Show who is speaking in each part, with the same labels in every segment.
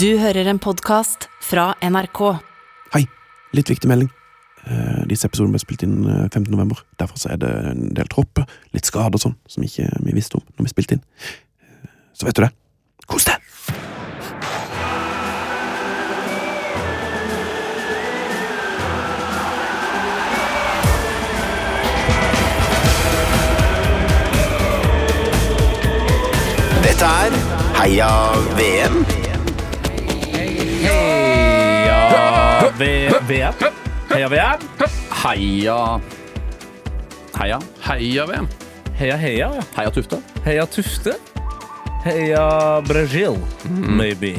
Speaker 1: Du hører en podkast fra NRK.
Speaker 2: Hei, litt viktig melding. Eh, Disse episodene ble spilt inn eh, 15. november. Derfor så er det en del tropper, litt skader og sånn, som ikke vi visste om når vi spilte inn. Eh, Så vet du det. Kos deg!
Speaker 3: Dette er Heia VM.
Speaker 4: Heia VM. Heia VM. Heia Heia.
Speaker 5: Heia VM.
Speaker 4: Heia heia. ja.
Speaker 5: Heia Tufte.
Speaker 4: Heia Tufte. Heia Brasil,
Speaker 5: Mhm.
Speaker 4: maybe.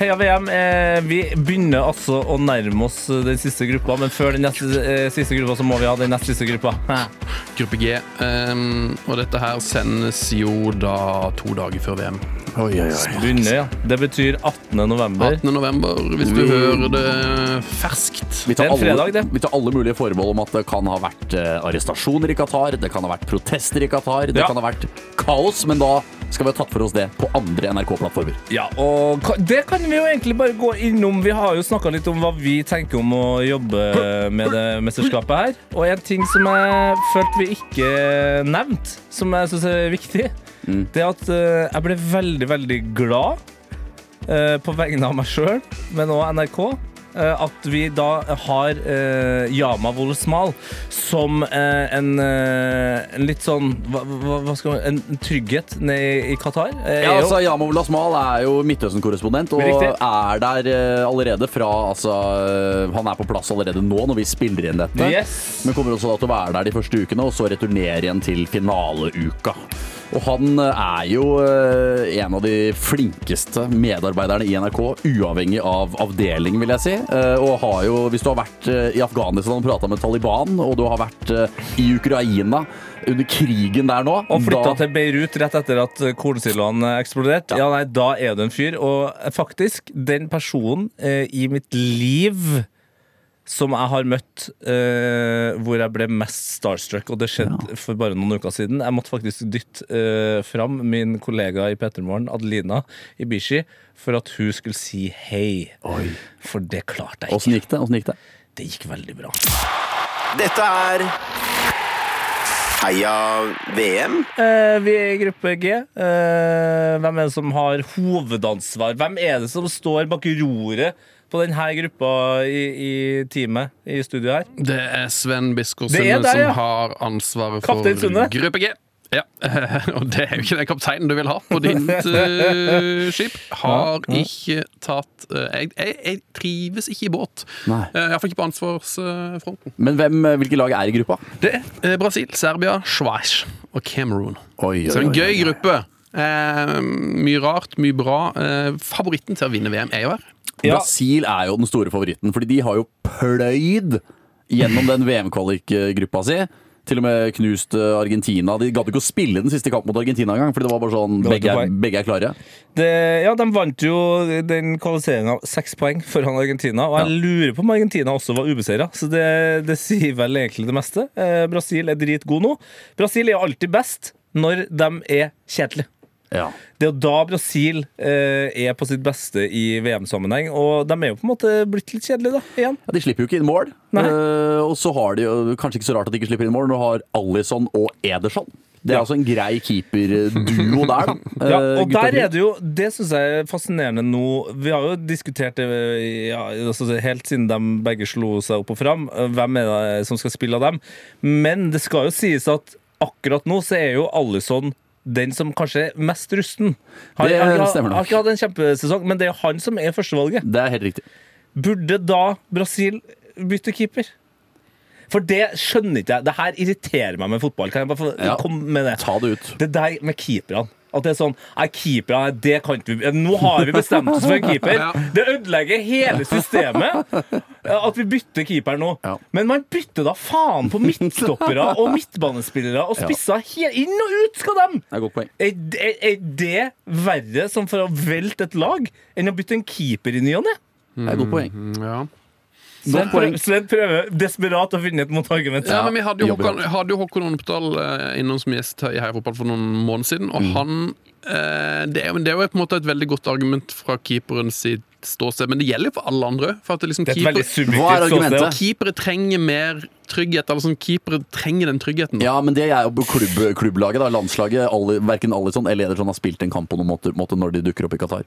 Speaker 4: Heia VM. Eh, vi begynner altså å nærme oss den siste gruppa, men før den neste, eh, siste gruppa så må vi ha den nest siste gruppa. Hæ.
Speaker 5: Gruppe G. ehm, og dette her sendes jo da to dager før VM.
Speaker 4: Begynner, ja. Det betyr 18. november.
Speaker 5: 18. november, hvis du
Speaker 6: Vi-
Speaker 4: Uh.
Speaker 5: hører det ferskt.
Speaker 6: Vi tar,
Speaker 4: Det er en fredag,
Speaker 6: alle,
Speaker 4: det.
Speaker 6: vi tar alle mulige forbehold om at det kan ha vært eh, arrestasjoner i Qatar, det kan ha vært protester i Qatar, det
Speaker 4: Ja.
Speaker 6: kan ha vært kaos, men da skal vi ha tatt for oss det på andre NRK-plattformer.
Speaker 4: Ja, og ka- det kan vi jo egentlig bare gå innom. Vi har jo snakka litt om hva vi tenker om å jobbe med det mesterskapet her. Og en ting som jeg følte vi ikke nevnte, som jeg syns er viktig,
Speaker 6: Mm.
Speaker 4: det er at eh, jeg ble veldig, veldig glad eh, på vegne av meg sjøl, men òg NRK. eh, At vi da har eh, Yama Wolesmal som eh, en, eh, en litt sånn hva, hva hva skal man, En trygghet nede i Qatar. Eh,
Speaker 6: Ja,
Speaker 4: er jo-
Speaker 6: altså, Yamo Lasmal er jo Midtøsten-korrespondent og
Speaker 4: Riktig.
Speaker 6: er der eh, allerede fra altså, eh, Han er på plass allerede nå når vi spiller inn dette.
Speaker 4: Yes.
Speaker 6: Men kommer også da til å være der de første ukene, og så returnere igjen til finaleuka. Og han eh, er jo eh, en av de flinkeste medarbeiderne i NRK, uavhengig av avdeling, vil jeg si. Eh, Og har jo, hvis du har vært eh, i Afghanistan og prata med Taliban, og du har vært eh, i Ukraina under krigen der nå
Speaker 4: Og flytta
Speaker 6: da-
Speaker 4: til Beirut rett etter at kornsiloen eh, eksploderte. Ja. nei, Da er du en fyr. Og eh, faktisk, den personen eh, i mitt liv som jeg har møtt eh, hvor jeg ble mest starstruck, og det skjedde for bare noen uker siden Jeg måtte faktisk dytte eh, fram min kollega i Petermorgen, Adelina Ibishi, for at hun skulle si hei. For det klarte jeg
Speaker 6: Åssen
Speaker 4: ikke.
Speaker 6: gikk det? Åssen gikk det?
Speaker 4: Det gikk veldig bra.
Speaker 3: Dette er Heia VM.
Speaker 4: Eh, vi er i gruppe G. Eh, hvem er det som har hovedansvar? Hvem er det som står bak roret på denne gruppa i, i teamet i studio her?
Speaker 5: Det er Sven Biskår
Speaker 4: Det er
Speaker 5: Sunde
Speaker 4: der, ja.
Speaker 5: som har ansvaret
Speaker 4: Kaptein Sunde.
Speaker 5: for Gruppe G. Ja, Og det er jo ikke den kapteinen du vil ha på ditt eh, skip. Har ikke tatt eh, jeg, jeg, jeg trives ikke i båt.
Speaker 6: Nei.
Speaker 5: Eh, Iallfall ikke på ansvarsfronten.
Speaker 6: Men hvem, eh, hvilke lag er i gruppa?
Speaker 5: Det er eh, Brasil, Serbia, Schweiz og Cameroon.
Speaker 6: Oi,
Speaker 5: Så det er en gøy gruppe. Eh, mye rart, mye bra. Eh, favoritten til å vinne VM er jo her.
Speaker 4: Ja.
Speaker 6: Brasil er jo den store favoritten, fordi de har jo pløyd gjennom den VM-kvalik-gruppa si. Til og med knust eh, Argentina. De gadd ikke å spille den siste kampen mot Argentina engang. Fordi det var bare sånn
Speaker 4: Det var ikke
Speaker 6: begge er,
Speaker 4: poeng.
Speaker 6: begge er klare.
Speaker 4: Det, ja, De vant jo den kvalifiseringa seks poeng foran Argentina. Og jeg lurer på om Argentina også var ubeseira, så det, det sier vel egentlig det meste. Eh, Brasil er dritgod nå. Brasil er jo alltid best når de er kjedelige.
Speaker 6: Ja.
Speaker 4: Det er jo da Brasil eh, er på sitt beste i VM-sammenheng, og de er jo på en måte blitt litt kjedelige, da. Igjen.
Speaker 6: De slipper jo ikke inn mål.
Speaker 4: Nei.
Speaker 6: Eh, og så har de jo kanskje ikke så rart at de ikke slipper inn mål. Nå har Alison og Ederson. Det er altså en grei keeperduo der, da.
Speaker 4: Ja,
Speaker 6: Eh,
Speaker 4: og der er det jo Det syns jeg er fascinerende nå. Vi har jo diskutert det ja, altså, helt siden de begge slo seg opp og fram. eh, Hvem er det som skal spille av dem? Men det skal jo sies at akkurat nå så er jo Alison den som kanskje er mest rusten. Han
Speaker 6: Det
Speaker 4: har, ikke-
Speaker 6: stemmer nok.
Speaker 4: har ikke hatt en kjempesesong, men det er jo han som er førstevalget.
Speaker 6: Det er helt riktig.
Speaker 4: Burde da Brasil bytte keeper? For det skjønner ikke jeg. Det her irriterer meg med fotball. Kan jeg bare få
Speaker 6: Ja.
Speaker 4: komme med det?
Speaker 6: Ta det ut.
Speaker 4: Det der med keeperne. At det er sånn Nei, keeperne, det kan ikke vi Nå har vi bestemt oss for en keeper.
Speaker 5: Ja.
Speaker 4: Det ødelegger hele systemet at vi bytter keeper nå.
Speaker 6: Ja.
Speaker 4: Men man bytter da faen på midtstoppere og midtbanespillere og spisser he- inn og ut skal dem!
Speaker 6: Det er et godt poeng.
Speaker 4: Er, er, er det verre som for å velte et lag enn å bytte en keeper i ny og ne?
Speaker 6: Mm. Det er et godt poeng.
Speaker 5: Ja.
Speaker 4: Sven
Speaker 6: Godt poeng.
Speaker 4: prøver, Sven prøver desperat å finne et motargument.
Speaker 5: Ja, men Vi hadde jo
Speaker 6: jobber
Speaker 5: Håkon, hadde jo Håkon Oppdal eh, innom som gjest her i Heia Fotball for noen måneder siden. Og han eh, det, er, jo- men det er jo på en måte et veldig godt argument fra keeperens sitt ståsted, men det gjelder jo for alle andre. For at det liksom
Speaker 4: Det er et veldig
Speaker 5: keeper,
Speaker 6: Hva er
Speaker 4: subjektivt
Speaker 6: argumentet?
Speaker 4: ståsted.
Speaker 5: Keepere trenger mer trygghet. Eller sånn, keepere trenger den tryggheten.
Speaker 6: Ja, men det er jo klubb, klubblaget, da, landslaget. Ali, verken Alison eller Ederson har spilt en kamp på noen måte, måte når de dukker opp i Qatar.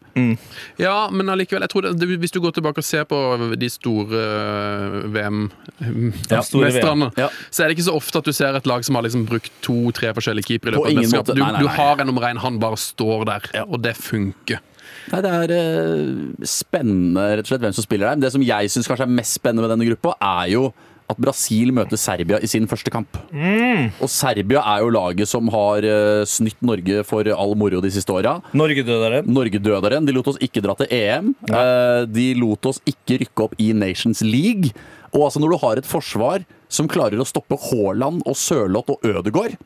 Speaker 5: Ja, men allikevel, jeg tror det, det, hvis du går tilbake og ser på de store eh,
Speaker 6: Ja,
Speaker 4: store
Speaker 5: VM-mestrene,
Speaker 6: VM. Ja.
Speaker 5: så er det ikke så ofte at du ser et lag som har liksom brukt to-tre forskjellige keepere. i løpet
Speaker 6: På
Speaker 5: av
Speaker 6: ingen
Speaker 5: mesterskapet.
Speaker 6: måte. Nei, nei,
Speaker 5: Du, du
Speaker 6: nei.
Speaker 5: har en nummer én, han bare står der, og det funker.
Speaker 6: Nei, Det er eh, spennende rett og slett hvem som spiller der. Men det som jeg syns kanskje er mest spennende med denne gruppa, er jo at Brasil møter Serbia i sin første kamp. Og Serbia er jo laget som har eh, snytt Norge for all moro de siste åra.
Speaker 4: Norge døde den.
Speaker 6: Norge døderen. De lot oss ikke dra til EM. Eh, De lot oss ikke rykke opp i Nations League. Og altså når du har et forsvar som klarer å stoppe Haaland og Sørloth og Ødegaard,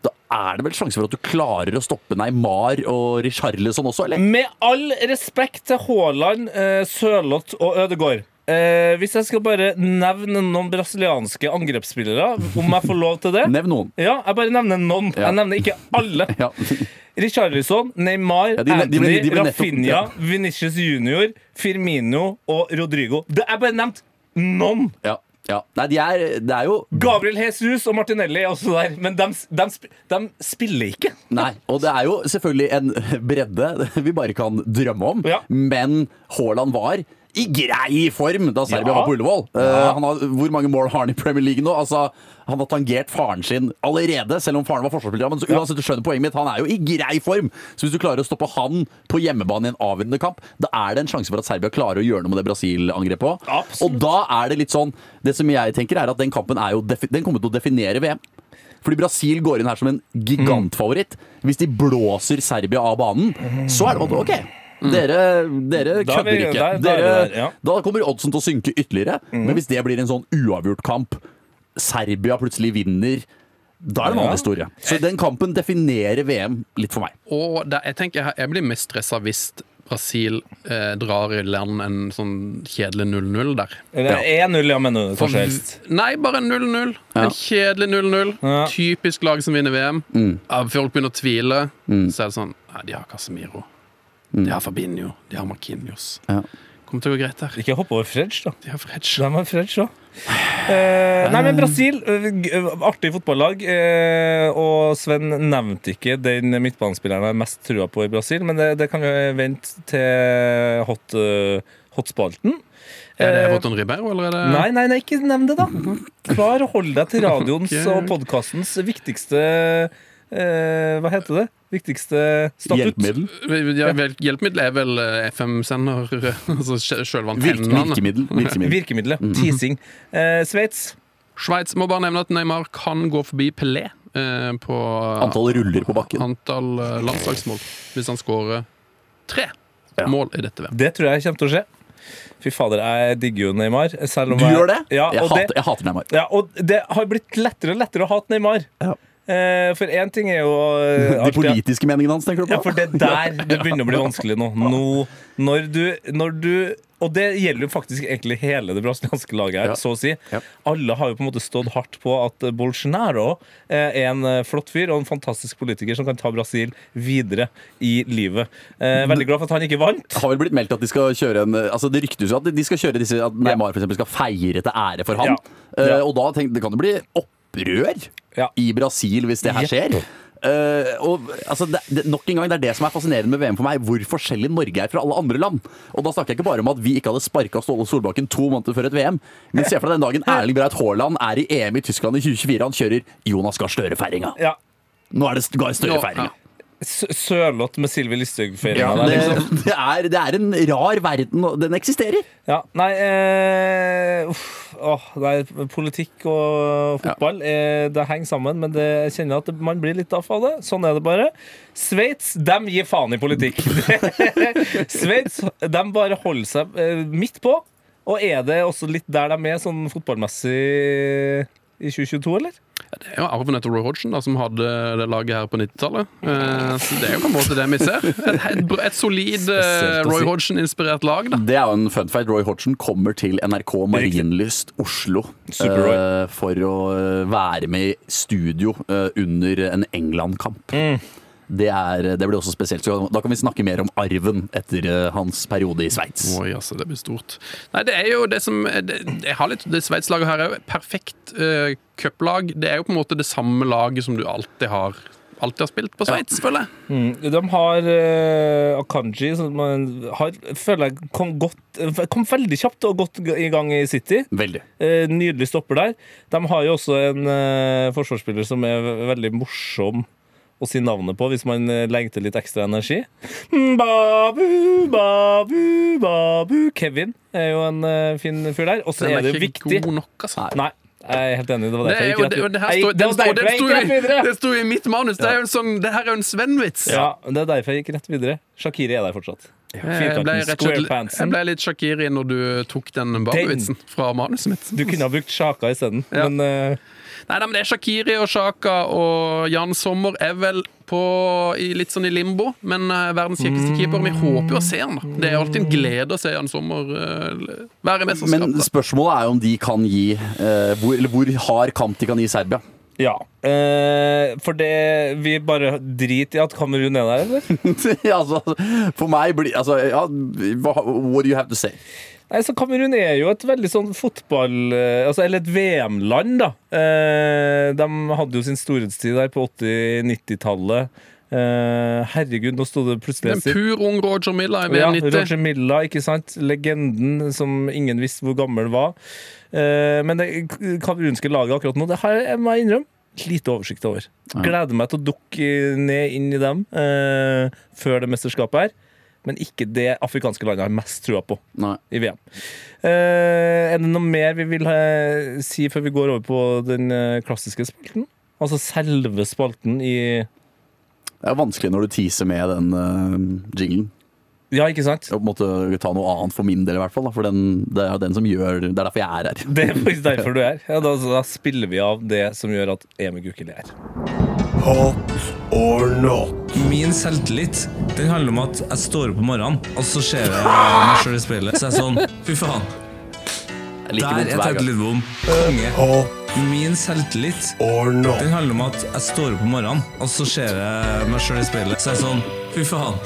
Speaker 6: da er det vel sjanse for at du klarer å stoppe Neymar og Richarlison også, eller?
Speaker 4: Med all respekt til Haaland, eh, Sørloth og Ødegaard. Eh, hvis jeg skal bare nevne noen brasilianske angrepsspillere, om jeg får lov til det
Speaker 6: Nevn noen.
Speaker 4: Ja, jeg bare nevner noen.
Speaker 6: Ja.
Speaker 4: Jeg nevner ikke alle.
Speaker 6: Ja.
Speaker 4: Richarlison, Neymar,
Speaker 6: Ja, de ble- de ble-
Speaker 4: Anthony,
Speaker 6: de ble nettopp-
Speaker 4: Rafinha,
Speaker 6: ja.
Speaker 4: Vinicius Junior, Firmino og Rodrigo. Det er bare nevnt noen.
Speaker 6: ja. ja. Nei, de er, det er jo
Speaker 4: Gabriel Jesus og Martinelli er også der, men de, spiller ikke.
Speaker 6: Nei, og det er jo selvfølgelig en bredde vi bare kan drømme om.
Speaker 4: Ja.
Speaker 6: Men Haaland var i grei form da Serbia
Speaker 4: Ja.
Speaker 6: var på Ullevål. Eh, han har, hvor mange mål har han i Premier League nå? Altså, han har tangert faren sin allerede, selv om faren var forsvarsspiller. Men så, uansett, du skjønner poenget mitt, han er jo i grei form. Så hvis du klarer å stoppe han på hjemmebane i en avgjørende kamp, da er det en sjanse for at Serbia klarer å gjøre noe med det Brasil-angrepet òg.
Speaker 4: Absolutt.
Speaker 6: Og da er det litt sånn Det som jeg tenker, er at den kampen er jo defi- Den kommer til å definere VM. Fordi Brasil går inn her som en gigantfavoritt. Hvis de blåser Serbia av banen, så er det bare OK. Dere, dere
Speaker 4: Mm. Da er vi-
Speaker 6: kødder ikke.
Speaker 4: der- der er
Speaker 6: Dere,
Speaker 4: det der, ja. Mm.
Speaker 6: Da kommer oddsen til å synke ytterligere. Men hvis det blir en sånn uavgjort kamp, Serbia plutselig vinner, da er det en
Speaker 4: Ja.
Speaker 6: annen historie. Så den kampen definerer VM litt for meg.
Speaker 5: Og det, jeg tenker jeg- jeg blir mest stressa hvis Brasil eh, drar i land en sånn kjedelig 0-0 der.
Speaker 4: Eller 1-0, ja, mener du kanskje helst.
Speaker 5: Nei, bare en 0-0. En kjedelig 0-0.
Speaker 4: Ja.
Speaker 5: Typisk lag som vinner VM. Ja, Folk begynner å tvile. Så er det sånn Nei, de har Casemiro. De har Fabinho. De har Marquinhos.
Speaker 6: Ja.
Speaker 5: Kommer til å gå greit der.
Speaker 4: Ikke hopp over Fredge, da.
Speaker 5: De har Fredge.
Speaker 4: De har Fredge òg. Eh, nei, men Brasil, eh, g- artig fotballag. Eh, og Sven nevnte ikke den midtbanespilleren jeg har mest trua på i Brasil, men det, det kan vi vente til hot, eh, hotspalten.
Speaker 5: Er det
Speaker 4: Eh,
Speaker 5: Everton Ribeiro, eller er det
Speaker 4: Nei, nei, nei, ikke nevn det, da. Klar å holde deg til radioens
Speaker 5: Ok.
Speaker 4: og podkastens viktigste eh, Hva heter det? Viktigste statutt.
Speaker 6: Hjelpemiddel.
Speaker 5: Ja, vel, Hjelpemiddel er vel eh, FM-sender, altså sj- sjølve
Speaker 6: Virke,
Speaker 5: antennene.
Speaker 6: virkemiddel. virkemiddel.
Speaker 4: Virkemiddelet.
Speaker 6: Mhm.
Speaker 4: Teasing. Eh, Sveits.
Speaker 5: Sveits må bare nevne at Neymar kan gå forbi Pelé eh, på
Speaker 6: Antall ruller på bakken.
Speaker 5: antall eh, landslagsmål hvis han skårer tre
Speaker 6: Ja.
Speaker 5: mål i dette VM.
Speaker 4: Det tror jeg kommer til å skje. Fy fader, jeg digger jo Neymar. Selv om
Speaker 6: Du
Speaker 4: jeg-
Speaker 6: gjør det?
Speaker 4: Ja,
Speaker 6: Jeg
Speaker 4: og det,
Speaker 6: hater, jeg hater Neymar.
Speaker 4: ja, og det har blitt lettere og lettere å hate Neymar.
Speaker 6: Ja.
Speaker 4: Eh, for én ting er jo eh,
Speaker 6: De
Speaker 4: alt det-
Speaker 6: politiske meningene hans, tenker du på?
Speaker 4: Ja, for det er der det begynner å bli vanskelig nå. nå når, du, når du Og det gjelder jo faktisk egentlig hele det brasilianske laget her,
Speaker 6: Ja.
Speaker 4: så å si.
Speaker 6: Ja.
Speaker 4: Alle har jo på en måte stått hardt på at Bolsonaro eh, er en eh, flott fyr og en fantastisk politiker som kan ta Brasil videre i livet. Eh, Veldig glad for at han ikke vant.
Speaker 6: Det har vel blitt meldt at de skal kjøre en Altså det ryktes jo at de skal kjøre disse At Neymar for eksempel skal feire til ære for han
Speaker 4: Ja. Ja.
Speaker 6: Eh, Og da tenk, det kan det bli opprør
Speaker 4: Ja.
Speaker 6: I Brasil hvis det her skjer Eh, og, altså, det, det, nok en gang, det er det som er fascinerende med VM for meg Hvor forskjellig Norge er fra alle andre land Og da snakker jeg ikke bare om at vi ikke hadde sparket Ståle Solbakken To måneder før et VM Men se for deg den dagen Erling Breit Haaland er i EM i Tyskland i 2024 Han kjører Jonas Gahr Støre-feiringa
Speaker 4: Ja.
Speaker 6: Nå er det Gahr Støre-feiringa
Speaker 4: S- Sørloth med Sylvi Listhaug-feiringa der.
Speaker 6: det,
Speaker 4: Liksom.
Speaker 6: det, er, det er en rar verden og Den eksisterer
Speaker 4: Ja, nei eh, uff, åh, nei, Politikk og fotball eh, Det henger sammen, men det, jeg kjenner at det, man blir litt daff av det. Sånn er det bare. Sveits dem gir faen i politikk. Sveits dem bare holder seg eh, midt på. Og er det også litt der de er sånn fotballmessig i 2022, eller?
Speaker 5: Det er jo arven etter Roy Hodgson, da, som hadde det laget her på 90-tallet. Eh, Så det er jo på en måte det vi ser. Et, et, br- et solid eh,
Speaker 6: Spesielt å si.
Speaker 5: Roy Hodgson-inspirert lag, da.
Speaker 6: Det er jo en fun fact. Roy Hodgson kommer til NRK Marienlyst Oslo
Speaker 4: Super-Roy.
Speaker 6: eh, for å eh, være med i studio eh, under en England-kamp. Det, er, det blir også spesielt. Så da kan vi snakke mer om arven etter eh, hans periode i Sveits.
Speaker 5: Oi, altså, det blir stort. Nei, det er jo det som eh, det, Jeg har litt Det Sveits-laget her er jo et perfekt uh, cuplag. Det er jo på en måte det samme laget som du alltid har Alltid har spilt på Sveits, føler jeg.
Speaker 4: De har eh, Akanji, som man har, føler jeg kom, godt, kom veldig kjapt og godt i gang i City.
Speaker 6: Veldig.
Speaker 4: Eh, Nydelig stopper der. De har jo også en eh, forsvarsspiller som er ve- veldig morsom å si navnet på hvis man eh, legger til litt ekstra energi. Mm, Babu, babu, babu. Kevin er jo en eh, fin fyr der. Og så
Speaker 5: Den
Speaker 4: er det
Speaker 5: ikke
Speaker 4: viktig
Speaker 5: god nok, altså.
Speaker 4: Nei, jeg er helt enig. Det var
Speaker 5: Det
Speaker 4: derfor
Speaker 5: er
Speaker 4: jeg
Speaker 5: jo,
Speaker 4: gikk rett
Speaker 5: det, og det,
Speaker 4: videre.
Speaker 5: her
Speaker 4: Jeg-
Speaker 5: står,
Speaker 4: det
Speaker 5: den
Speaker 4: var derfor
Speaker 5: står, den
Speaker 4: jeg
Speaker 5: sto
Speaker 4: gikk rett
Speaker 5: i,
Speaker 4: videre!
Speaker 5: det sto i mitt manus! Det, er jo en sånn, det her er jo en Sven-vits.
Speaker 4: Ja, det er derfor jeg gikk rett videre. Shakiri er der fortsatt.
Speaker 5: Jeg Eh, ble,
Speaker 4: Firkanten,
Speaker 5: rett og slett, jeg
Speaker 4: squarepantsen.
Speaker 5: ble litt Shakiri når du tok den Babu-vitsen fra manuset mitt.
Speaker 4: Du kunne ha brukt Sjaka isteden,
Speaker 5: Ja.
Speaker 4: men eh,
Speaker 5: Nei, nei, men det er Shakiri og Shaka og Jan Sommer er vel på, i, litt sånn i limbo, men eh, verdens kjekkeste keeper. Vi håper jo å se han da. Det er alltid en glede å se Jan Sommer eh, være i
Speaker 6: Men
Speaker 5: mesterskapet.
Speaker 6: spørsmålet er jo om de kan gi eh, hvor, Eller hvor hard kamp de kan gi Serbia.
Speaker 4: ja. Eh, for det Vi bare driter i at Kamerun er der, eller?
Speaker 6: altså, for meg blir altså, ja, hva- What do you have to say?
Speaker 4: Nei, så Kamerun er jo et veldig sånn fotball... eh, Altså, eller et VM-land, da. Eh, de hadde jo sin storhetstid der på 80-90-tallet. Eh, herregud, nå sto det plutselig
Speaker 5: En pur ung Roger Milla i
Speaker 4: Ja,
Speaker 5: VM90.
Speaker 4: Roger Milla, ikke sant? Legenden som ingen visste hvor gammel var. Eh, men det kamerunske laget akkurat nå, det har jeg må jeg innrømme. Lite oversikt over. Gleder meg til å dukke ned inn i dem eh, før det mesterskapet her. Men ikke det afrikanske landet har mest trua på
Speaker 6: Nei.
Speaker 4: i VM. Eh, er det noe mer vi vil eh, si før vi går over på den eh, klassiske spalten? Altså selve spalten i
Speaker 6: Det er vanskelig når du teaser med den eh, jinglen.
Speaker 4: Ja, ikke sant?
Speaker 6: Jeg måtte ta noe annet for min del, i hvert fall. Da, for den, det er jo den som gjør Det er derfor jeg er her.
Speaker 4: Det er faktisk derfor du er her. Ja, da, da spiller vi av det som gjør at Emil Gukild er her.
Speaker 3: Hot or not?
Speaker 4: Min selvtillit den handler om at jeg står opp om morgenen, og så ser jeg meg sjøl i speilet. Så jeg er sånn Fy faen,
Speaker 6: Jeg liker vondt hver gang.
Speaker 4: Lidbom. Konge. Min selvtillit den handler om at jeg står opp om morgenen, og så ser jeg meg sjøl i speilet. Så jeg er sånn Fy faen.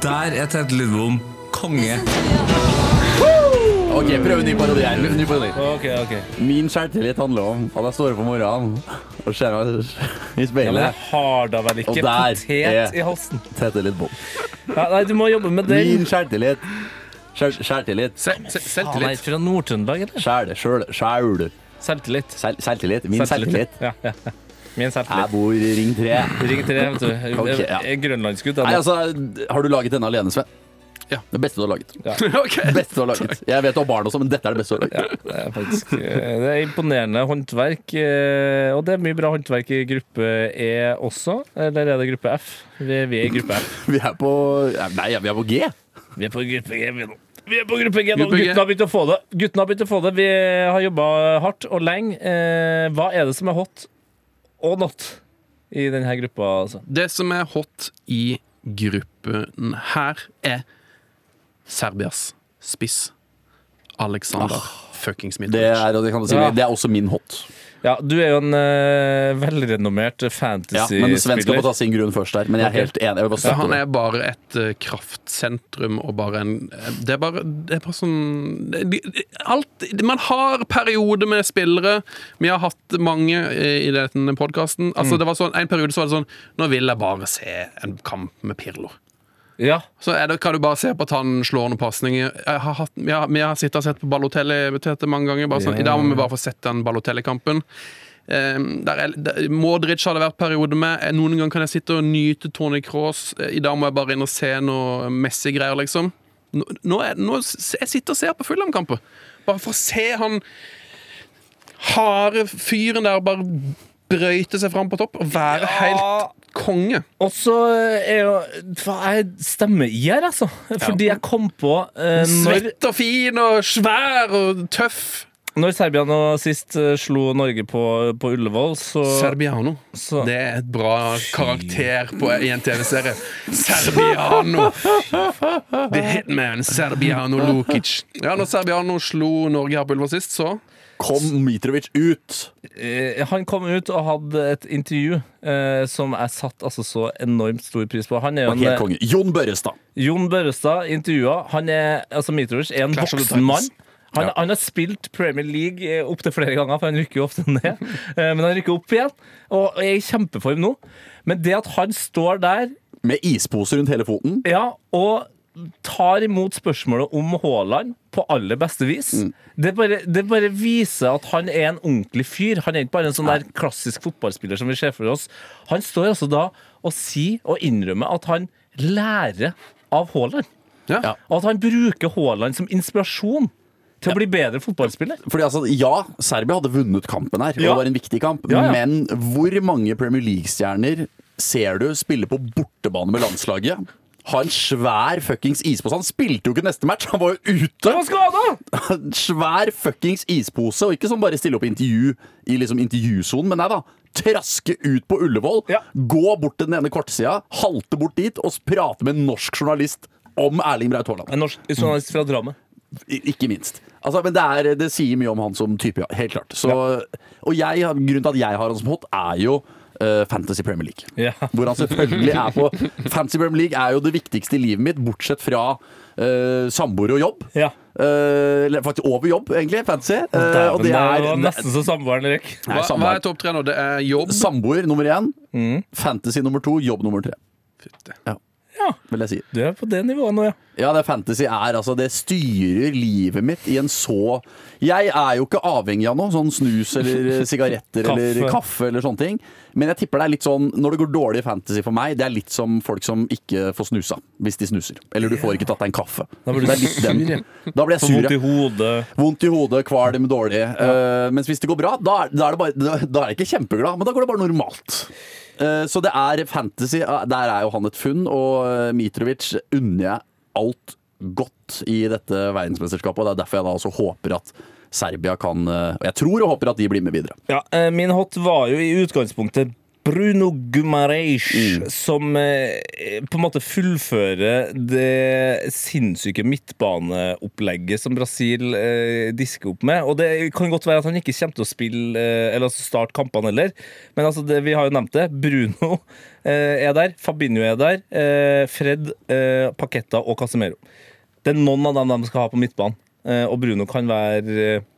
Speaker 4: Der er Tete Lidbom konge.
Speaker 6: Ok, prøv en ny parodi her. Ny parodi.
Speaker 4: Ok, ok.
Speaker 6: Min selvtillit handler om at jeg står opp om morgenen og ser meg i
Speaker 4: Ja, men jeg
Speaker 6: speilet.
Speaker 4: har da vel
Speaker 6: Og
Speaker 4: ikke
Speaker 6: der
Speaker 4: potet
Speaker 6: er-
Speaker 4: i halsen?
Speaker 6: Tete litt bom.
Speaker 4: Ja, nei, du må jobbe med den.
Speaker 6: Min selvtillit. Sjæl- Selvtillit.
Speaker 5: Se- se-
Speaker 4: Han er
Speaker 5: Selvtillit.
Speaker 4: fra Nord-Trøndelag, eller?
Speaker 6: Sjæl. Sjøl. Sjæl.
Speaker 4: Selvtillit.
Speaker 6: Sel- Selvtillit. Min selvtillit.
Speaker 4: Ja, ja. ja. Min
Speaker 6: Jeg
Speaker 4: selvtillit.
Speaker 6: bor i Ring 3.
Speaker 4: Ring til det, vet du.
Speaker 6: Ok,
Speaker 4: Jeg
Speaker 6: ja.
Speaker 4: er grønlandsgutt.
Speaker 6: Nei,
Speaker 4: jeg nå.
Speaker 6: altså, har du laget denne alene, Sven?
Speaker 5: Ja.
Speaker 6: Det beste du har laget.
Speaker 5: Ok.
Speaker 6: Beste du har laget. Jeg vet du har barn også, men dette er det beste du har laget.
Speaker 4: Det er faktisk eh, Det er imponerende håndverk. eh, Og det er mye bra håndverk i gruppe E også. Eller er det gruppe F? Vi er, vi er i gruppe F.
Speaker 6: Vi er på Nei, vi er på G.
Speaker 4: Vi er på gruppe G vi nå. Vi er på gruppe G nå.
Speaker 5: Gruppe G.
Speaker 4: Guttene har begynt å få det. Guttene har begynt å få det. Vi har jobba hardt og lenge. Eh, Hva er det som er hot og not i denne gruppa? Altså?
Speaker 5: Det som er hot i gruppen her, er Serbias spiss. Alexander fuckings
Speaker 6: Det
Speaker 5: Mitrovic.
Speaker 6: er, og det, kan du si,
Speaker 4: Ja.
Speaker 6: det er også min hot.
Speaker 4: Ja, du er jo en eh, velrenommert
Speaker 6: Ja, men Sven skal
Speaker 4: fantasy-spiller.
Speaker 6: få ta sin grunn først der. Men jeg er
Speaker 4: Ok.
Speaker 6: helt enig. Jeg vil bare
Speaker 5: Ja,
Speaker 6: støtte
Speaker 5: han
Speaker 6: det.
Speaker 5: er bare et eh, kraftsentrum og bare en eh, Det er bare, det er bare sånn det- det- Alt Man har perioder med spillere. Vi har hatt mange eh, i denne podkasten. Altså, det var sånn, en periode så var det sånn Nå vil jeg bare se en kamp med Pirlo.
Speaker 4: Ja,
Speaker 5: Så er det, kan du bare se på at han slår noen pasninger. Jeg har hatt- Vi har, vi har sittet og sett på Balotelli Tete, mange ganger. Bare sånn, I dag må vi bare få sett den Balotelli-kampen. Um, der er, der, Modric har det vært periode med. Eh, Noen ganger kan jeg sitte og nyte Tony Cross. Eh, I dag må jeg bare inn og se noe Messi-greier, liksom. Nå, nå, er, nå s- Jeg sitter og ser på Fulham-kamper. Bare for å se han harde fyren der bare brøyte seg fram på topp og være helt konge.
Speaker 4: Og så eh, er jo Hva er stemmeier, altså? Fordi jeg kom på eh, når,
Speaker 5: Svett og fin og svær og tøff.
Speaker 4: Når Serbia nå sist eh, slo Norge på, på Ullevål, så
Speaker 5: Serbiano.
Speaker 4: Så-
Speaker 5: Det er et bra karakter på, i en TV-serie. Serbiano! The Hitman, Serbiano Lukic. Ja, når Serbiano slo Norge her på Ulva sist, så
Speaker 6: Kom Mitrovic ut!
Speaker 4: Eh, Han kom ut og hadde et intervju eh, som jeg satte altså så enormt stor pris på. Han er jo
Speaker 6: Og helt
Speaker 4: en, eh,
Speaker 6: konge. Jon Børrestad.
Speaker 4: Jon Børrestad intervjua. Han er, altså Mitrovic er en
Speaker 5: Clash of the
Speaker 4: voksen mann.
Speaker 5: Titans.
Speaker 4: Han, han har spilt Premier League eh, opptil flere ganger, for han rykker jo ofte ned. Eh, Men han rykker opp igjen og er i kjempeform nå. Men det at han står der
Speaker 6: Med ispose rundt hele foten.
Speaker 4: ja, og tar imot spørsmålet om Haaland på aller beste vis.
Speaker 6: Mm.
Speaker 4: Det, bare, det bare viser at han er en ordentlig fyr. Han er ikke bare en sånn der klassisk fotballspiller som vi ser for oss. Han står altså da og sier og innrømmer at han lærer av Haaland.
Speaker 5: ja.
Speaker 6: Ja.
Speaker 4: Og at han bruker Haaland som inspirasjon til å bli bedre fotballspiller.
Speaker 6: Fordi altså, Ja, Serbia hadde vunnet kampen her, og
Speaker 4: Ja.
Speaker 6: det var en viktig kamp.
Speaker 4: Ja, ja.
Speaker 6: Men hvor mange Premier League-stjerner ser du spille på bortebane med landslaget? Ha en svær fuckings ispose. Han spilte jo ikke neste match, han var jo ute!
Speaker 4: Han var skada!
Speaker 6: En svær fuckings ispose, og ikke sånn bare stille opp i intervju i liksom intervjusonen, men nei da. Traske ut på Ullevål,
Speaker 4: Ja.
Speaker 6: gå bort til den ene kortsida, halte bort dit og prate med en norsk journalist om Erling Braut Haaland.
Speaker 4: En norsk journalist fra Drammen.
Speaker 6: I- Ikke minst. Altså, men det, er, det sier mye om han som type, ja. Helt klart. Så, Og jeg, grunnen til at jeg har han som hot, er jo eh, Fantasy Premier League.
Speaker 4: Ja.
Speaker 6: Hvor han selvfølgelig er på Fantasy Premier League er jo det viktigste i livet mitt, bortsett fra eh, samboer og jobb.
Speaker 4: Ja.
Speaker 6: Eh, Eller faktisk over jobb, egentlig. Fantasy. Eh, og det
Speaker 4: Dæven,
Speaker 6: er
Speaker 4: var nesten så samboeren røk.
Speaker 6: Nei,
Speaker 5: Hva, hva
Speaker 6: samboer.
Speaker 5: er topp tre nå? Det er jobb.
Speaker 6: Samboer nummer én,
Speaker 4: Mm.
Speaker 6: fantasy nummer to, jobb nummer tre.
Speaker 5: Fytte.
Speaker 6: Vil jeg si.
Speaker 4: Du er på det nivået nå, ja.
Speaker 6: Ja, det fantasy er altså Det styrer livet mitt i en så Jeg er jo ikke avhengig av noe, sånn snus eller sigaretter eller
Speaker 4: Kaffe.
Speaker 6: kaffe eller sånne ting. Men jeg tipper det er litt sånn Når det går dårlig i fantasy for meg, det er litt som folk som ikke får snusa hvis de snuser. Eller du får ikke tatt deg en kaffe.
Speaker 4: Da blir du
Speaker 6: Det er litt den. Da blir jeg
Speaker 4: Får
Speaker 6: sur.
Speaker 4: vondt
Speaker 6: ja.
Speaker 4: i hodet.
Speaker 6: Vondt i hodet, kvalm, dårlig. Eh, mens hvis det går bra, da er, da, er det bare, da, da er jeg ikke kjempeglad, men da går det bare normalt. Eh, så det er fantasy. eh, Der er jo han et funn, og eh, Mitrovic unner jeg alt godt i dette verdensmesterskapet. Og det er derfor jeg da også håper at Serbia kan eh, Og jeg tror og håper at de blir med videre.
Speaker 4: Ja, eh, min hot var jo i utgangspunktet Bruno Gumareish, som eh, på en måte fullfører det sinnssyke midtbaneopplegget som Brasil eh, disker opp med. Og det kan godt være at han ikke kommer til å spille eh, eller altså starte kampene heller, men altså det, vi har jo nevnt det. Bruno eh, er der, Fabinho er der, eh, Fred, eh, Paqueta og Casemiro. Det er noen av dem de skal ha på midtbanen, eh, og Bruno kan være eh,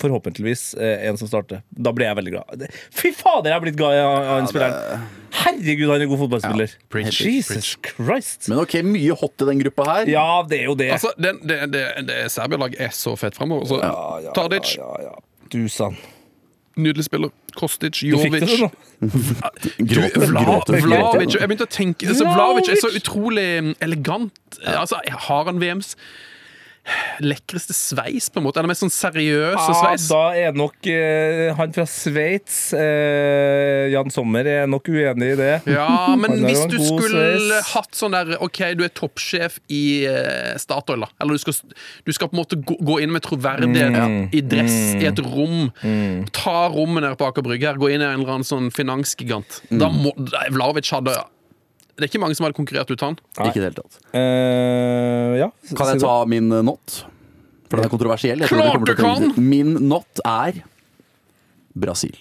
Speaker 4: forhåpentligvis eh, en som starter. Da blir jeg veldig glad. Det- Fy fader, jeg er blitt glad i han han spilleren. Herregud, han er en god fotballspiller.
Speaker 5: Preach,
Speaker 4: Jesus Christ.
Speaker 6: Men OK, mye hot i den gruppa her.
Speaker 4: Ja, det er jo det.
Speaker 5: Altså, det, det, det, det Serbia-laget er så fett fremover. Så Tardic,
Speaker 4: Ja, ja. Du sann.
Speaker 5: nydelig spiller. Kostic,
Speaker 4: Du fikk det
Speaker 5: Jovic.
Speaker 4: nå.
Speaker 6: Gråter,
Speaker 5: Du, Vla-
Speaker 6: gråter, gråter.
Speaker 5: Vlavic, jeg begynte å tenke altså, Vlavic er så utrolig eh, elegant. Altså, har han VMs lekreste sveis, på en måte? Eller mest sånn seriøse
Speaker 4: Ja,
Speaker 5: sveis?
Speaker 4: Ah, da er nok eh, han fra Sveits, eh, Jan Sommer, er nok uenig i det.
Speaker 5: Ja, men
Speaker 4: Han er jo
Speaker 5: hvis
Speaker 4: en
Speaker 5: du
Speaker 4: god
Speaker 5: skulle
Speaker 4: sveis.
Speaker 5: hatt sånn der OK, du er toppsjef i eh, Statoil, da. Eller du skal, du skal på en måte gå, gå inn med troverdighet
Speaker 4: Mm.
Speaker 5: i dress i et rom. Ta rommet nede på Aker Brygge her, gå inn i en eller annen sånn finansgigant. Da
Speaker 4: Mm.
Speaker 5: må da- Vlavic hadde Det er ikke mange som hadde konkurrert ut han.
Speaker 6: Ikke i det hele tatt.
Speaker 4: Eh, ja.
Speaker 6: Kan
Speaker 4: si
Speaker 6: jeg
Speaker 4: det.
Speaker 6: ta min eh, not? For den er kontroversiell. Jeg tror
Speaker 5: Klart
Speaker 6: det kommer til
Speaker 5: du
Speaker 6: å trenge-
Speaker 5: kan!
Speaker 6: Min not er Brasil.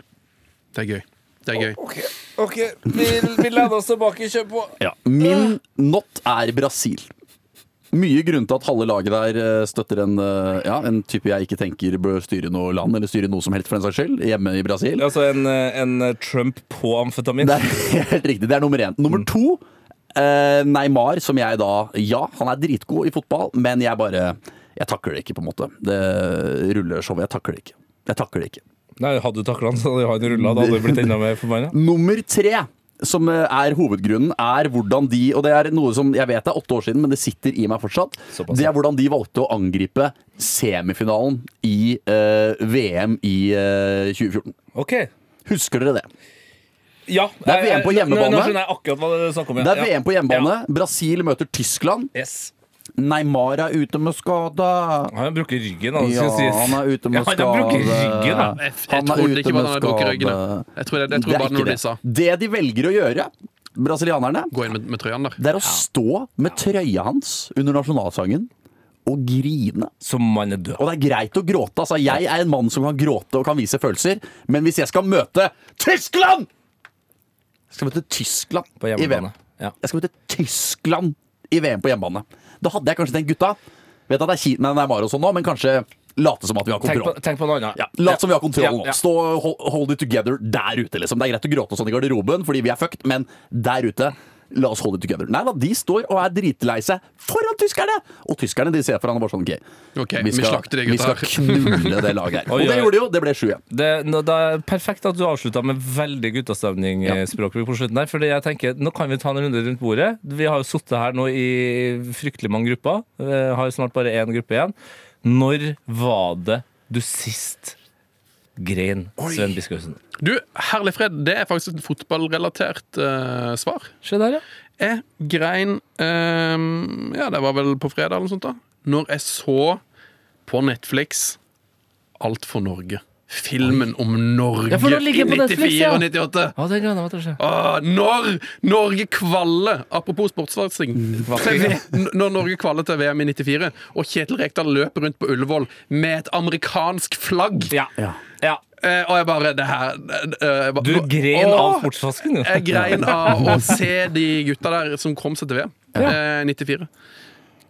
Speaker 5: Det er gøy. Det er gøy.
Speaker 4: OK, vi, vi lener oss tilbake. Kjør på.
Speaker 6: Ja. Min not er Brasil. Mye grunn til at halve laget der eh, støtter en, eh, ja, en type jeg ikke tenker bør styre noe land, eller styre noe som helst for den saks skyld, hjemme i Brasil.
Speaker 4: Altså en, eh, en Trump på amfetamin.
Speaker 6: Det er helt riktig. Det er nummer én. Nummer to, eh, Neymar, som jeg da Ja, han er dritgod i fotball, men jeg bare Jeg takler det ikke, på en måte. Det ruller showet. Jeg takler det ikke. Jeg takler det ikke.
Speaker 4: Nei, Hadde du takla han, så hadde han rulla. Da hadde du blitt enda mer forbanna.
Speaker 6: Nummer tre som eh, er hovedgrunnen, er hvordan de Og det er noe som jeg vet er åtte år siden, men det sitter i meg fortsatt.
Speaker 4: Såpass.
Speaker 6: Det er hvordan de valgte å angripe semifinalen i eh, VM i eh, 2014.
Speaker 4: Ok.
Speaker 6: Husker dere det?
Speaker 4: Ja.
Speaker 6: Det er VM på
Speaker 4: jeg- eh, nå-
Speaker 6: hjemmebane.
Speaker 4: Nå skjønner jeg akkurat hva det er snakk om. ja.
Speaker 6: Det er
Speaker 4: Ja.
Speaker 6: VM på hjemmebane. Brasil møter Tyskland.
Speaker 4: Ja. Yes.
Speaker 6: Neymar er ute med skade.
Speaker 4: Han bruker ryggen, han.
Speaker 6: Ja,
Speaker 4: skal sies.
Speaker 6: han er ute
Speaker 4: Ja,
Speaker 6: med
Speaker 4: han
Speaker 6: skade.
Speaker 4: bruker ryggen, da.
Speaker 5: Jeg, jeg
Speaker 6: Han er
Speaker 5: trodde
Speaker 6: ute
Speaker 5: ikke bare
Speaker 6: med
Speaker 5: han hadde brukket
Speaker 6: skade.
Speaker 5: ryggen. jeg. Jeg tror, jeg, jeg tror
Speaker 6: Det er
Speaker 5: bare
Speaker 6: ikke
Speaker 5: når de
Speaker 6: det.
Speaker 5: sa
Speaker 6: Det de velger å gjøre, brasilianerne,
Speaker 5: gå inn med, med trøyen der.
Speaker 6: det er å stå med trøya hans under nasjonalsangen og grine.
Speaker 4: Som man er død.
Speaker 6: Og det er greit å gråte. Altså, jeg er en mann som kan gråte og kan vise følelser, men hvis jeg skal møte Tyskland Jeg skal møte Tyskland
Speaker 4: På
Speaker 6: i VM.
Speaker 4: hjemmebane. Ja.
Speaker 6: Jeg skal møte Tyskland i VM på hjemmebane. Da hadde jeg kanskje tenkt gutta Vet at det er kjipt med Neymar og sånn nå, men kanskje late som at vi har
Speaker 4: Tenk,
Speaker 6: kontroll.
Speaker 4: på, tenk på noe annet.
Speaker 6: Ja, Lat som vi har kontroll
Speaker 4: Ja,
Speaker 6: nå.
Speaker 4: ja.
Speaker 6: Stå hold, hold it together der ute, liksom. Det er greit å gråte og sånn i garderoben fordi vi er fucked, men der ute La oss hold it together. Nei da, de står og er dritlei seg foran tyskerne! Og tyskerne de ser foran og bare sånn OK,
Speaker 5: Ok, vi slakter de
Speaker 6: vi
Speaker 5: gutta
Speaker 6: skal
Speaker 5: her.
Speaker 6: knule det laget her.
Speaker 4: Oi,
Speaker 6: Og det
Speaker 4: oi.
Speaker 6: gjorde de jo. Det ble 7-1.
Speaker 4: Det, nå- det er perfekt at du avslutta med veldig guttastemning-språkbruk på slutten. her Fordi jeg tenker, Nå kan vi ta en runde rundt bordet. Vi har jo sittet her nå i fryktelig mange grupper. Vi har snart bare én gruppe igjen. Når var det du sist grein, Sven Biskausen?
Speaker 5: Du, herlig fred, det er faktisk et fotballrelatert eh, svar.
Speaker 4: Se der, ja.
Speaker 5: Jeg grein ehm, Ja, det var vel på fredag eller noe sånt da Når jeg så på Netflix Alt for Norge Filmen om Norge
Speaker 4: Ja, for den ligger
Speaker 5: i
Speaker 4: på
Speaker 5: 94
Speaker 4: Netflix, ja.
Speaker 5: og 98
Speaker 4: Ja, det gleder jeg meg til å se.
Speaker 5: Åh, Når Norge kvalle Apropos sportsvarsling Når Norge kvalle til VM i 94 Og Kjetil Rekdal løper rundt på Ullevål Med et amerikansk flagg
Speaker 4: Ja. ja.
Speaker 5: Eh, Og jeg bare, det her eh, jeg bare-
Speaker 4: Du grein av
Speaker 5: Åh!
Speaker 4: sportsvasken, jo.
Speaker 5: Jeg grein av å se de gutta der som kom seg til VM. Eh, 94.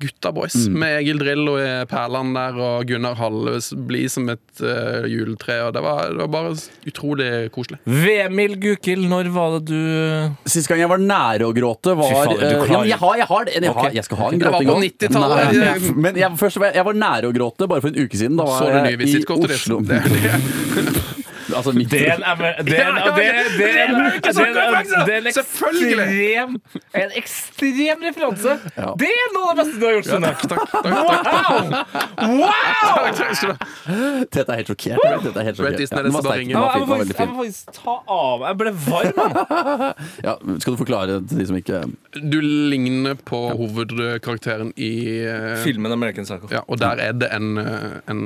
Speaker 5: Gutta boys,
Speaker 6: Mm.
Speaker 5: med Egil Drillo i Perland der og Gunnar Halles blid som et eh, juletre. Og det, var, det var bare s- utrolig koselig.
Speaker 4: Vemil Gukild, når var det du
Speaker 6: Sist gang jeg var nære å gråte, var
Speaker 4: fader, du
Speaker 6: eh,
Speaker 4: klarer-
Speaker 6: ja, men jeg, har, jeg har det. Jeg, har, jeg skal ha en
Speaker 5: Det var
Speaker 6: gråting
Speaker 5: på
Speaker 6: også.
Speaker 5: 90-tallet.
Speaker 6: Nei, jeg- Men jeg, først, var jeg- jeg var nære å gråte bare for en uke siden. Da var
Speaker 5: Så du nye
Speaker 6: jeg i
Speaker 5: visittkortet
Speaker 6: Oslo.
Speaker 5: ditt? Det-
Speaker 6: Altså, mitt,
Speaker 4: Det er en, emer- det er en, det er- det er en,
Speaker 5: Det er ikke sånn
Speaker 4: det er en-
Speaker 5: referanse!
Speaker 4: det er en ekstrem En ekstrem referanse!
Speaker 6: Ja.
Speaker 4: Det er noe av det beste du har gjort, Sunne.
Speaker 5: Takk, takk, takk,
Speaker 4: Wow!
Speaker 5: takk, takk skal du ha.
Speaker 6: Tete er helt sjokkert. Tete er
Speaker 5: Brett
Speaker 6: helt sjokkert.
Speaker 5: Easton
Speaker 6: Ja,
Speaker 5: er
Speaker 6: den
Speaker 5: nesten
Speaker 6: var
Speaker 5: bare
Speaker 6: sterk.
Speaker 5: ringer.
Speaker 6: Den
Speaker 4: Ja, jeg, må
Speaker 6: var fin. Den var
Speaker 4: faktisk,
Speaker 6: veldig
Speaker 4: jeg
Speaker 6: fin.
Speaker 4: må faktisk ta av Jeg ble varm, mann.
Speaker 6: Ja, skal du forklare til de som ikke
Speaker 5: Du ligner på hovedkarakteren i eh,
Speaker 4: Filmen American Psycho.
Speaker 5: ja, og der er det en, eh, en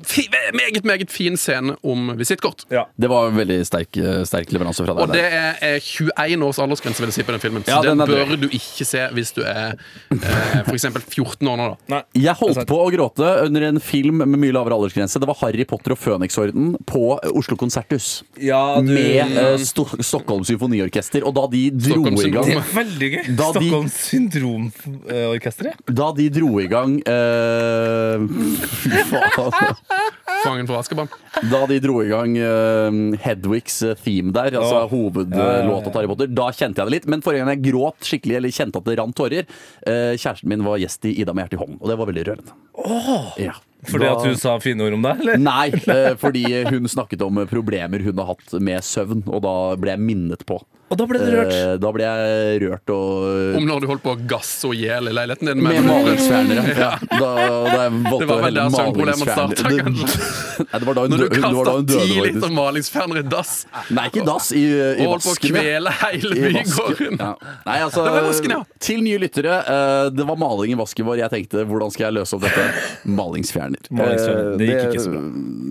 Speaker 5: fi, meget, meget fin scene om visittkort.
Speaker 6: Det var en veldig sterk, eh, sterk leveranse fra deg.
Speaker 5: Og det
Speaker 6: der.
Speaker 5: er eh, 21 års aldersgrense vil jeg si på den filmen. Så
Speaker 6: Ja,
Speaker 5: den,
Speaker 6: den er
Speaker 5: bør
Speaker 6: drøy.
Speaker 5: du ikke se hvis du er eh, f.eks. 14 år nå. da
Speaker 4: Nei.
Speaker 6: Jeg
Speaker 5: Altså-
Speaker 4: Altså,
Speaker 6: holdt på å gråte under en film med mye lavere aldersgrense. Det var Harry Potter og Føniksorden på eh, Oslo Konserthus.
Speaker 4: Ja, du-
Speaker 6: Med eh, Sto Stockholm Symfoniorkester. Og da de dro
Speaker 5: Stockholm
Speaker 6: i gang
Speaker 5: Symfoni-
Speaker 4: Det er veldig gøy.
Speaker 6: Da de-
Speaker 4: Stockholms Syndromorkesteret.
Speaker 6: Da de dro i gang eh, Fy faen.
Speaker 5: Fangen fra Askeban.
Speaker 6: Da de dro i gang eh, Hedwigs eh, theme der, altså
Speaker 4: Åh.
Speaker 6: hovedlåta til Harry Potter, da kjente jeg det litt. Men forrige gang jeg gråt skikkelig, eller kjente at det rant tårer, eh, kjæresten min var gjest i Ida med hjertet i hånden, og det var veldig rørende. Ja.
Speaker 4: Fordi
Speaker 6: Da-
Speaker 4: at du sa fine ord om deg, eller?
Speaker 6: Nei, eh, fordi hun snakket om problemer hun har hatt med søvn, og da ble jeg minnet på.
Speaker 4: Og da ble du rørt.
Speaker 6: Eh, Da ble jeg rørt og
Speaker 5: Om når du holdt på å gasse og hjel i leiligheten din.
Speaker 6: Med
Speaker 5: Men,
Speaker 6: malingsfjernere. Ja. Da, da jeg valgte
Speaker 5: Det var
Speaker 6: å
Speaker 5: vel
Speaker 6: helle
Speaker 5: der søvnproblemet
Speaker 6: malingsfjerner-
Speaker 5: startet,
Speaker 6: Det- Nei, det var da hun,
Speaker 5: når
Speaker 6: dø-
Speaker 5: du
Speaker 6: hun, det var
Speaker 5: kasta
Speaker 6: da hun
Speaker 5: ti liksom.
Speaker 6: døde,
Speaker 5: liter
Speaker 6: faktisk.
Speaker 5: malingsfjerner i dass
Speaker 6: Nei, ikke i dass, i, i
Speaker 5: og holdt på å
Speaker 6: vasken. ja.
Speaker 5: kvele hele
Speaker 6: I vasken,
Speaker 5: bygården.
Speaker 6: ja. Nei, altså,
Speaker 5: Det var i vasken, ja.
Speaker 6: Til nye lyttere, eh, det var maling i vasken vår. Jeg tenkte hvordan skal jeg løse opp dette? Malingsfjerner.
Speaker 4: Malingsfjerner. Det
Speaker 6: Eh,
Speaker 4: gikk ikke så bra.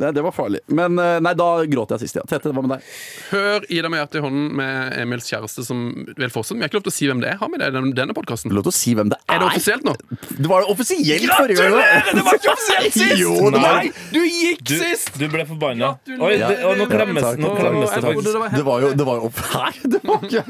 Speaker 6: Nei, det var farlig. Men eh, nei, da gråt jeg sist, ja. Tete, hva med deg?
Speaker 5: Hør Ida med hjertet i hånden med Emils kjæreste som vil fortsette. Men jeg har ikke lov til å si hvem det er. Har vi det i den- denne podkasten?
Speaker 6: Du lov til å si hvem det er.
Speaker 5: Er det offisielt nå?
Speaker 6: Det var det offisielt forrige gang. da.
Speaker 5: Det var ikke offisielt sist!
Speaker 6: Jo, det var
Speaker 5: Nei, du gikk
Speaker 4: Du,
Speaker 5: sist!
Speaker 4: du ble forbanna. Oi, det, og nå klemmes,
Speaker 6: takk.
Speaker 4: nå klemmes det
Speaker 5: Jeg
Speaker 4: faktisk.
Speaker 5: trodde det var
Speaker 6: Det var jo, det var jo opp... Nei, det var ikke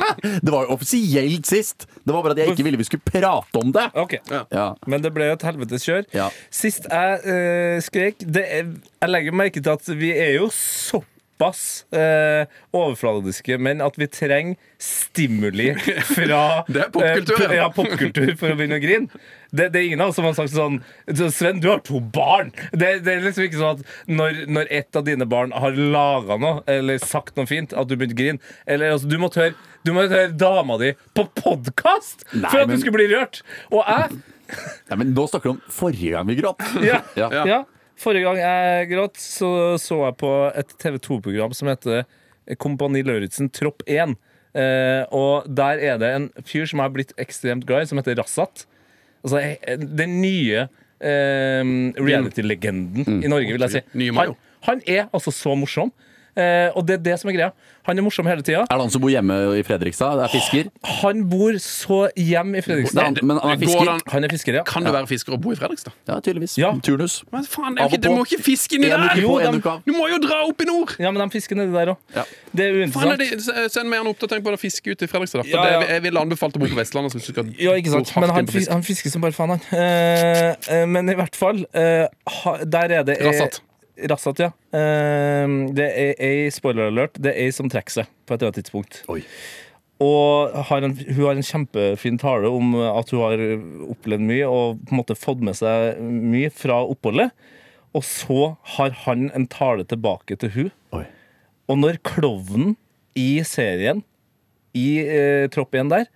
Speaker 6: Det var jo offisielt sist. Det var bare at jeg ikke ville vi skulle prate om det.
Speaker 4: Ok.
Speaker 6: Ja.
Speaker 4: Men det ble jo et helvetes kjør.
Speaker 6: Ja.
Speaker 4: Sist jeg eh, skrek det er, Jeg legger merke til at vi er jo såpass eh, overfladiske menn at vi trenger stimuli fra
Speaker 5: Det er popkultur,
Speaker 4: eh, p- ja,
Speaker 5: ja.
Speaker 4: popkultur for å begynne å grine. Det, det er ingen av oss som har sagt sånn «Så, Sven, du har to barn! Det, det er liksom ikke sånn at når, når et av dine barn har laga noe eller sagt noe fint, at du begynte å grine. Eller altså, du måtte høre, du måtte høre dama di på podkast for at
Speaker 6: men-
Speaker 4: du skulle bli rørt! Og jeg
Speaker 6: Nei, men nå snakker du om forrige gang vi gråt.
Speaker 4: ja.
Speaker 6: Ja.
Speaker 4: Ja. Forrige gang jeg gråt, så så jeg på et TV2-program som heter Kompani Lauritzen Tropp 1. Eh, og der er det en fyr som jeg har blitt ekstremt glad i, som heter Rassat. altså, eh, den nye eh, reality-legenden i Norge, vil jeg si.
Speaker 5: Mm. Nye Mayo.
Speaker 4: Han, han er altså så morsom. Eh, og det er det som er greia. Han er morsom hele tida.
Speaker 6: Er det han som bor hjemme i Fredrikstad? Det er fisker?
Speaker 4: Han bor så hjem i
Speaker 6: Det er
Speaker 4: Fredrikstad.
Speaker 6: han, men han er
Speaker 5: Går
Speaker 6: fisker?
Speaker 5: han-
Speaker 4: Han er fisker, ja.
Speaker 5: Kan du være fisker og bo i Fredrikstad?
Speaker 6: Ja, tydeligvis.
Speaker 4: Ja.
Speaker 6: Turnus.
Speaker 5: Men faen, det er
Speaker 6: Av
Speaker 5: jo
Speaker 6: og
Speaker 5: ikke, Du
Speaker 6: på.
Speaker 5: må ikke fiske inni
Speaker 6: En
Speaker 5: der!
Speaker 6: uke
Speaker 4: Jo,
Speaker 6: på, en
Speaker 4: dem-
Speaker 6: uke av.
Speaker 5: Du må jo dra opp i nord!
Speaker 4: Ja, men de fisker nedi der òg.
Speaker 6: Ja.
Speaker 4: Det er
Speaker 5: Faen, er
Speaker 4: uinteressant.
Speaker 5: det, s- send meg en oppdatering på å fiske ute i Fredrikstad. da, For
Speaker 4: Ja, ja.
Speaker 5: Det, jeg ville anbefalt å bo på Vestlandet. Hvis du skal
Speaker 4: Ja, ikke sant?
Speaker 5: gå hardt
Speaker 4: Men han,
Speaker 5: inn på fisk.
Speaker 4: fis- han fisker som bare faen, han. Eh, eh, men i hvert fall, eh, ha, der er det eh,
Speaker 5: Rassat.
Speaker 4: Rassat, ja. Eh, det er ei, spoiler alert, det er ei som trekker seg på et eller annet tidspunkt.
Speaker 6: Oi.
Speaker 4: Og har en, hun har en kjempefin tale om at hun har opplevd mye og på en måte fått med seg mye fra oppholdet. Og så har han en tale tilbake til hun.
Speaker 6: Oi.
Speaker 4: Og når klovnen i serien, i eh, tropp 1 der,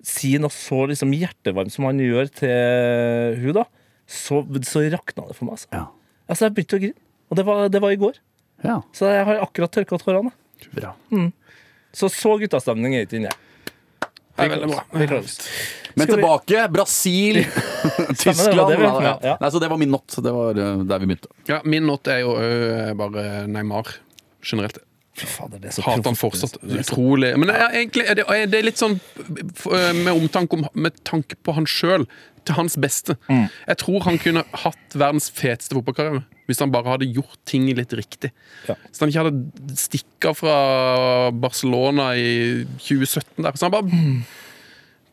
Speaker 4: sier noe så liksom hjertevarmt som han gjør til hun da, så, så rakna det for meg. Altså.
Speaker 6: Ja.
Speaker 4: Altså, jeg begynte å grine. Og det var, det var i går.
Speaker 6: ja.
Speaker 4: Så jeg har akkurat tørka tårene.
Speaker 6: Bra.
Speaker 4: Så så guttastemning er ikke inne.
Speaker 5: Det er veldig bra.
Speaker 6: Men
Speaker 4: Skal vi-
Speaker 6: tilbake. Brasil,
Speaker 4: det var
Speaker 6: Tyskland.
Speaker 4: det vi-
Speaker 6: ja.
Speaker 4: ja.
Speaker 6: Nei, så det var min natt. Det var eh, der vi begynte.
Speaker 5: Ja, min not er jo ø, bare Neymar. Generelt.
Speaker 4: Fy fader, det er så
Speaker 5: Hater han
Speaker 4: proft.
Speaker 5: fortsatt. Utrolig. Men det er, egentlig, er det, er det litt sånn f- ø, med omtanke om Med tanke på han sjøl. Til hans beste.
Speaker 4: Mm.
Speaker 5: Jeg tror han kunne hatt verdens feteste fotballkarriere hvis han bare hadde gjort ting litt riktig.
Speaker 4: Ja.
Speaker 5: Hvis han ikke hadde stikka fra Barcelona i 2017 der. Så han bare
Speaker 4: Mm.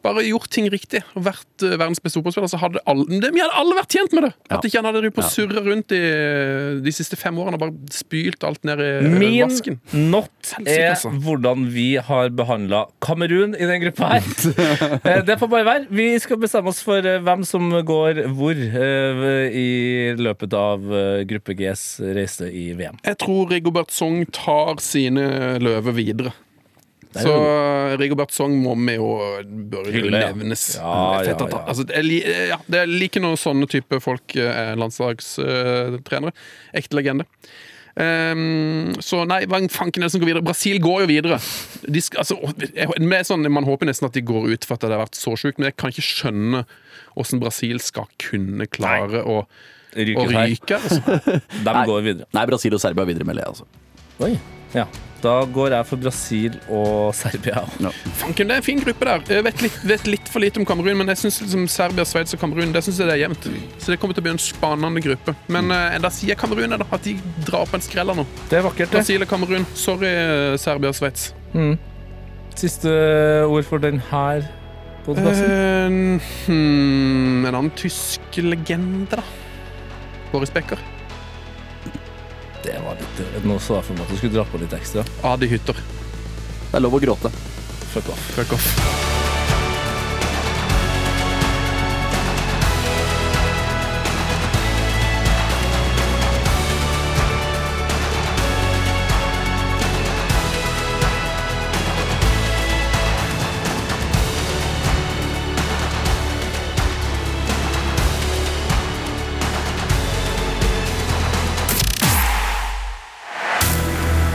Speaker 5: bare gjort ting riktig og vært eh, verdens beste fotballspiller, så hadde alle, men det- vi hadde alle vært tjent med det!
Speaker 6: Ja.
Speaker 5: At ikke han hadde drevet på og surra rundt i eh, de siste fem årene og bare spylt alt ned i eh,
Speaker 4: Min
Speaker 5: vasken.
Speaker 4: not
Speaker 5: Helsike,
Speaker 4: er
Speaker 5: altså.
Speaker 4: hvordan vi har behandla Kamerun i den gruppa her. Eh, Det får bare være. Vi skal bestemme oss for eh, hvem som går hvor eh, i løpet av eh, gruppe Gs reise i VM.
Speaker 5: Jeg tror Rigobert Song tar sine løver videre. Så eh, Rigobert Song må vi jo bør jo
Speaker 4: Hylle, ja.
Speaker 5: nevnes.
Speaker 4: Ja,
Speaker 5: Fett
Speaker 4: ja,
Speaker 5: at-
Speaker 4: ja.
Speaker 5: Altså, det, er li, ja, det er like noen sånne type folk eh, er landslagstrenere. Ekte legende. Ehm, så nei, hva fanken er det som går videre? Brasil går jo videre. De skal, altså, jeg, med sånn, man håper nesten at de går ut for at det har vært så sjukt, men jeg kan ikke skjønne åssen Brasil skal kunne klare å, å
Speaker 4: Ryker her.
Speaker 5: ryke. Altså.
Speaker 4: De går videre.
Speaker 6: Nei, Brasil og Serbia er videre, melder jeg. Altså.
Speaker 4: Ja. Da går jeg for Brasil og Serbia.
Speaker 5: Fanken, det er en fin gruppe der. Jeg vet litt, vet litt for lite om Kamerun, men jeg synes liksom Serbia, Sveits og Kamerun det synes jeg det er jevnt. Så det kommer til å bli en spennende gruppe. Men eh, da sier jeg Kamerun jeg, da, at de drar på en skrell her nå.
Speaker 4: Det er vakkert. det.
Speaker 5: Brasil og Kamerun. Sorry, eh, Serbia og Sveits.
Speaker 4: Siste ord for den her podkasten.
Speaker 5: Eh, hmm, en annen tysk legende, da. Boris Becker. Eh.
Speaker 4: Det var litt Nå så jeg for meg at du skulle dra på litt ekstra.
Speaker 5: Adi Hytter.
Speaker 6: Det er lov å gråte.
Speaker 4: Fuck off.
Speaker 5: Fuck off.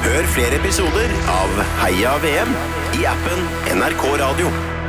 Speaker 3: Hør flere episoder av Heia VM i appen NRK Radio.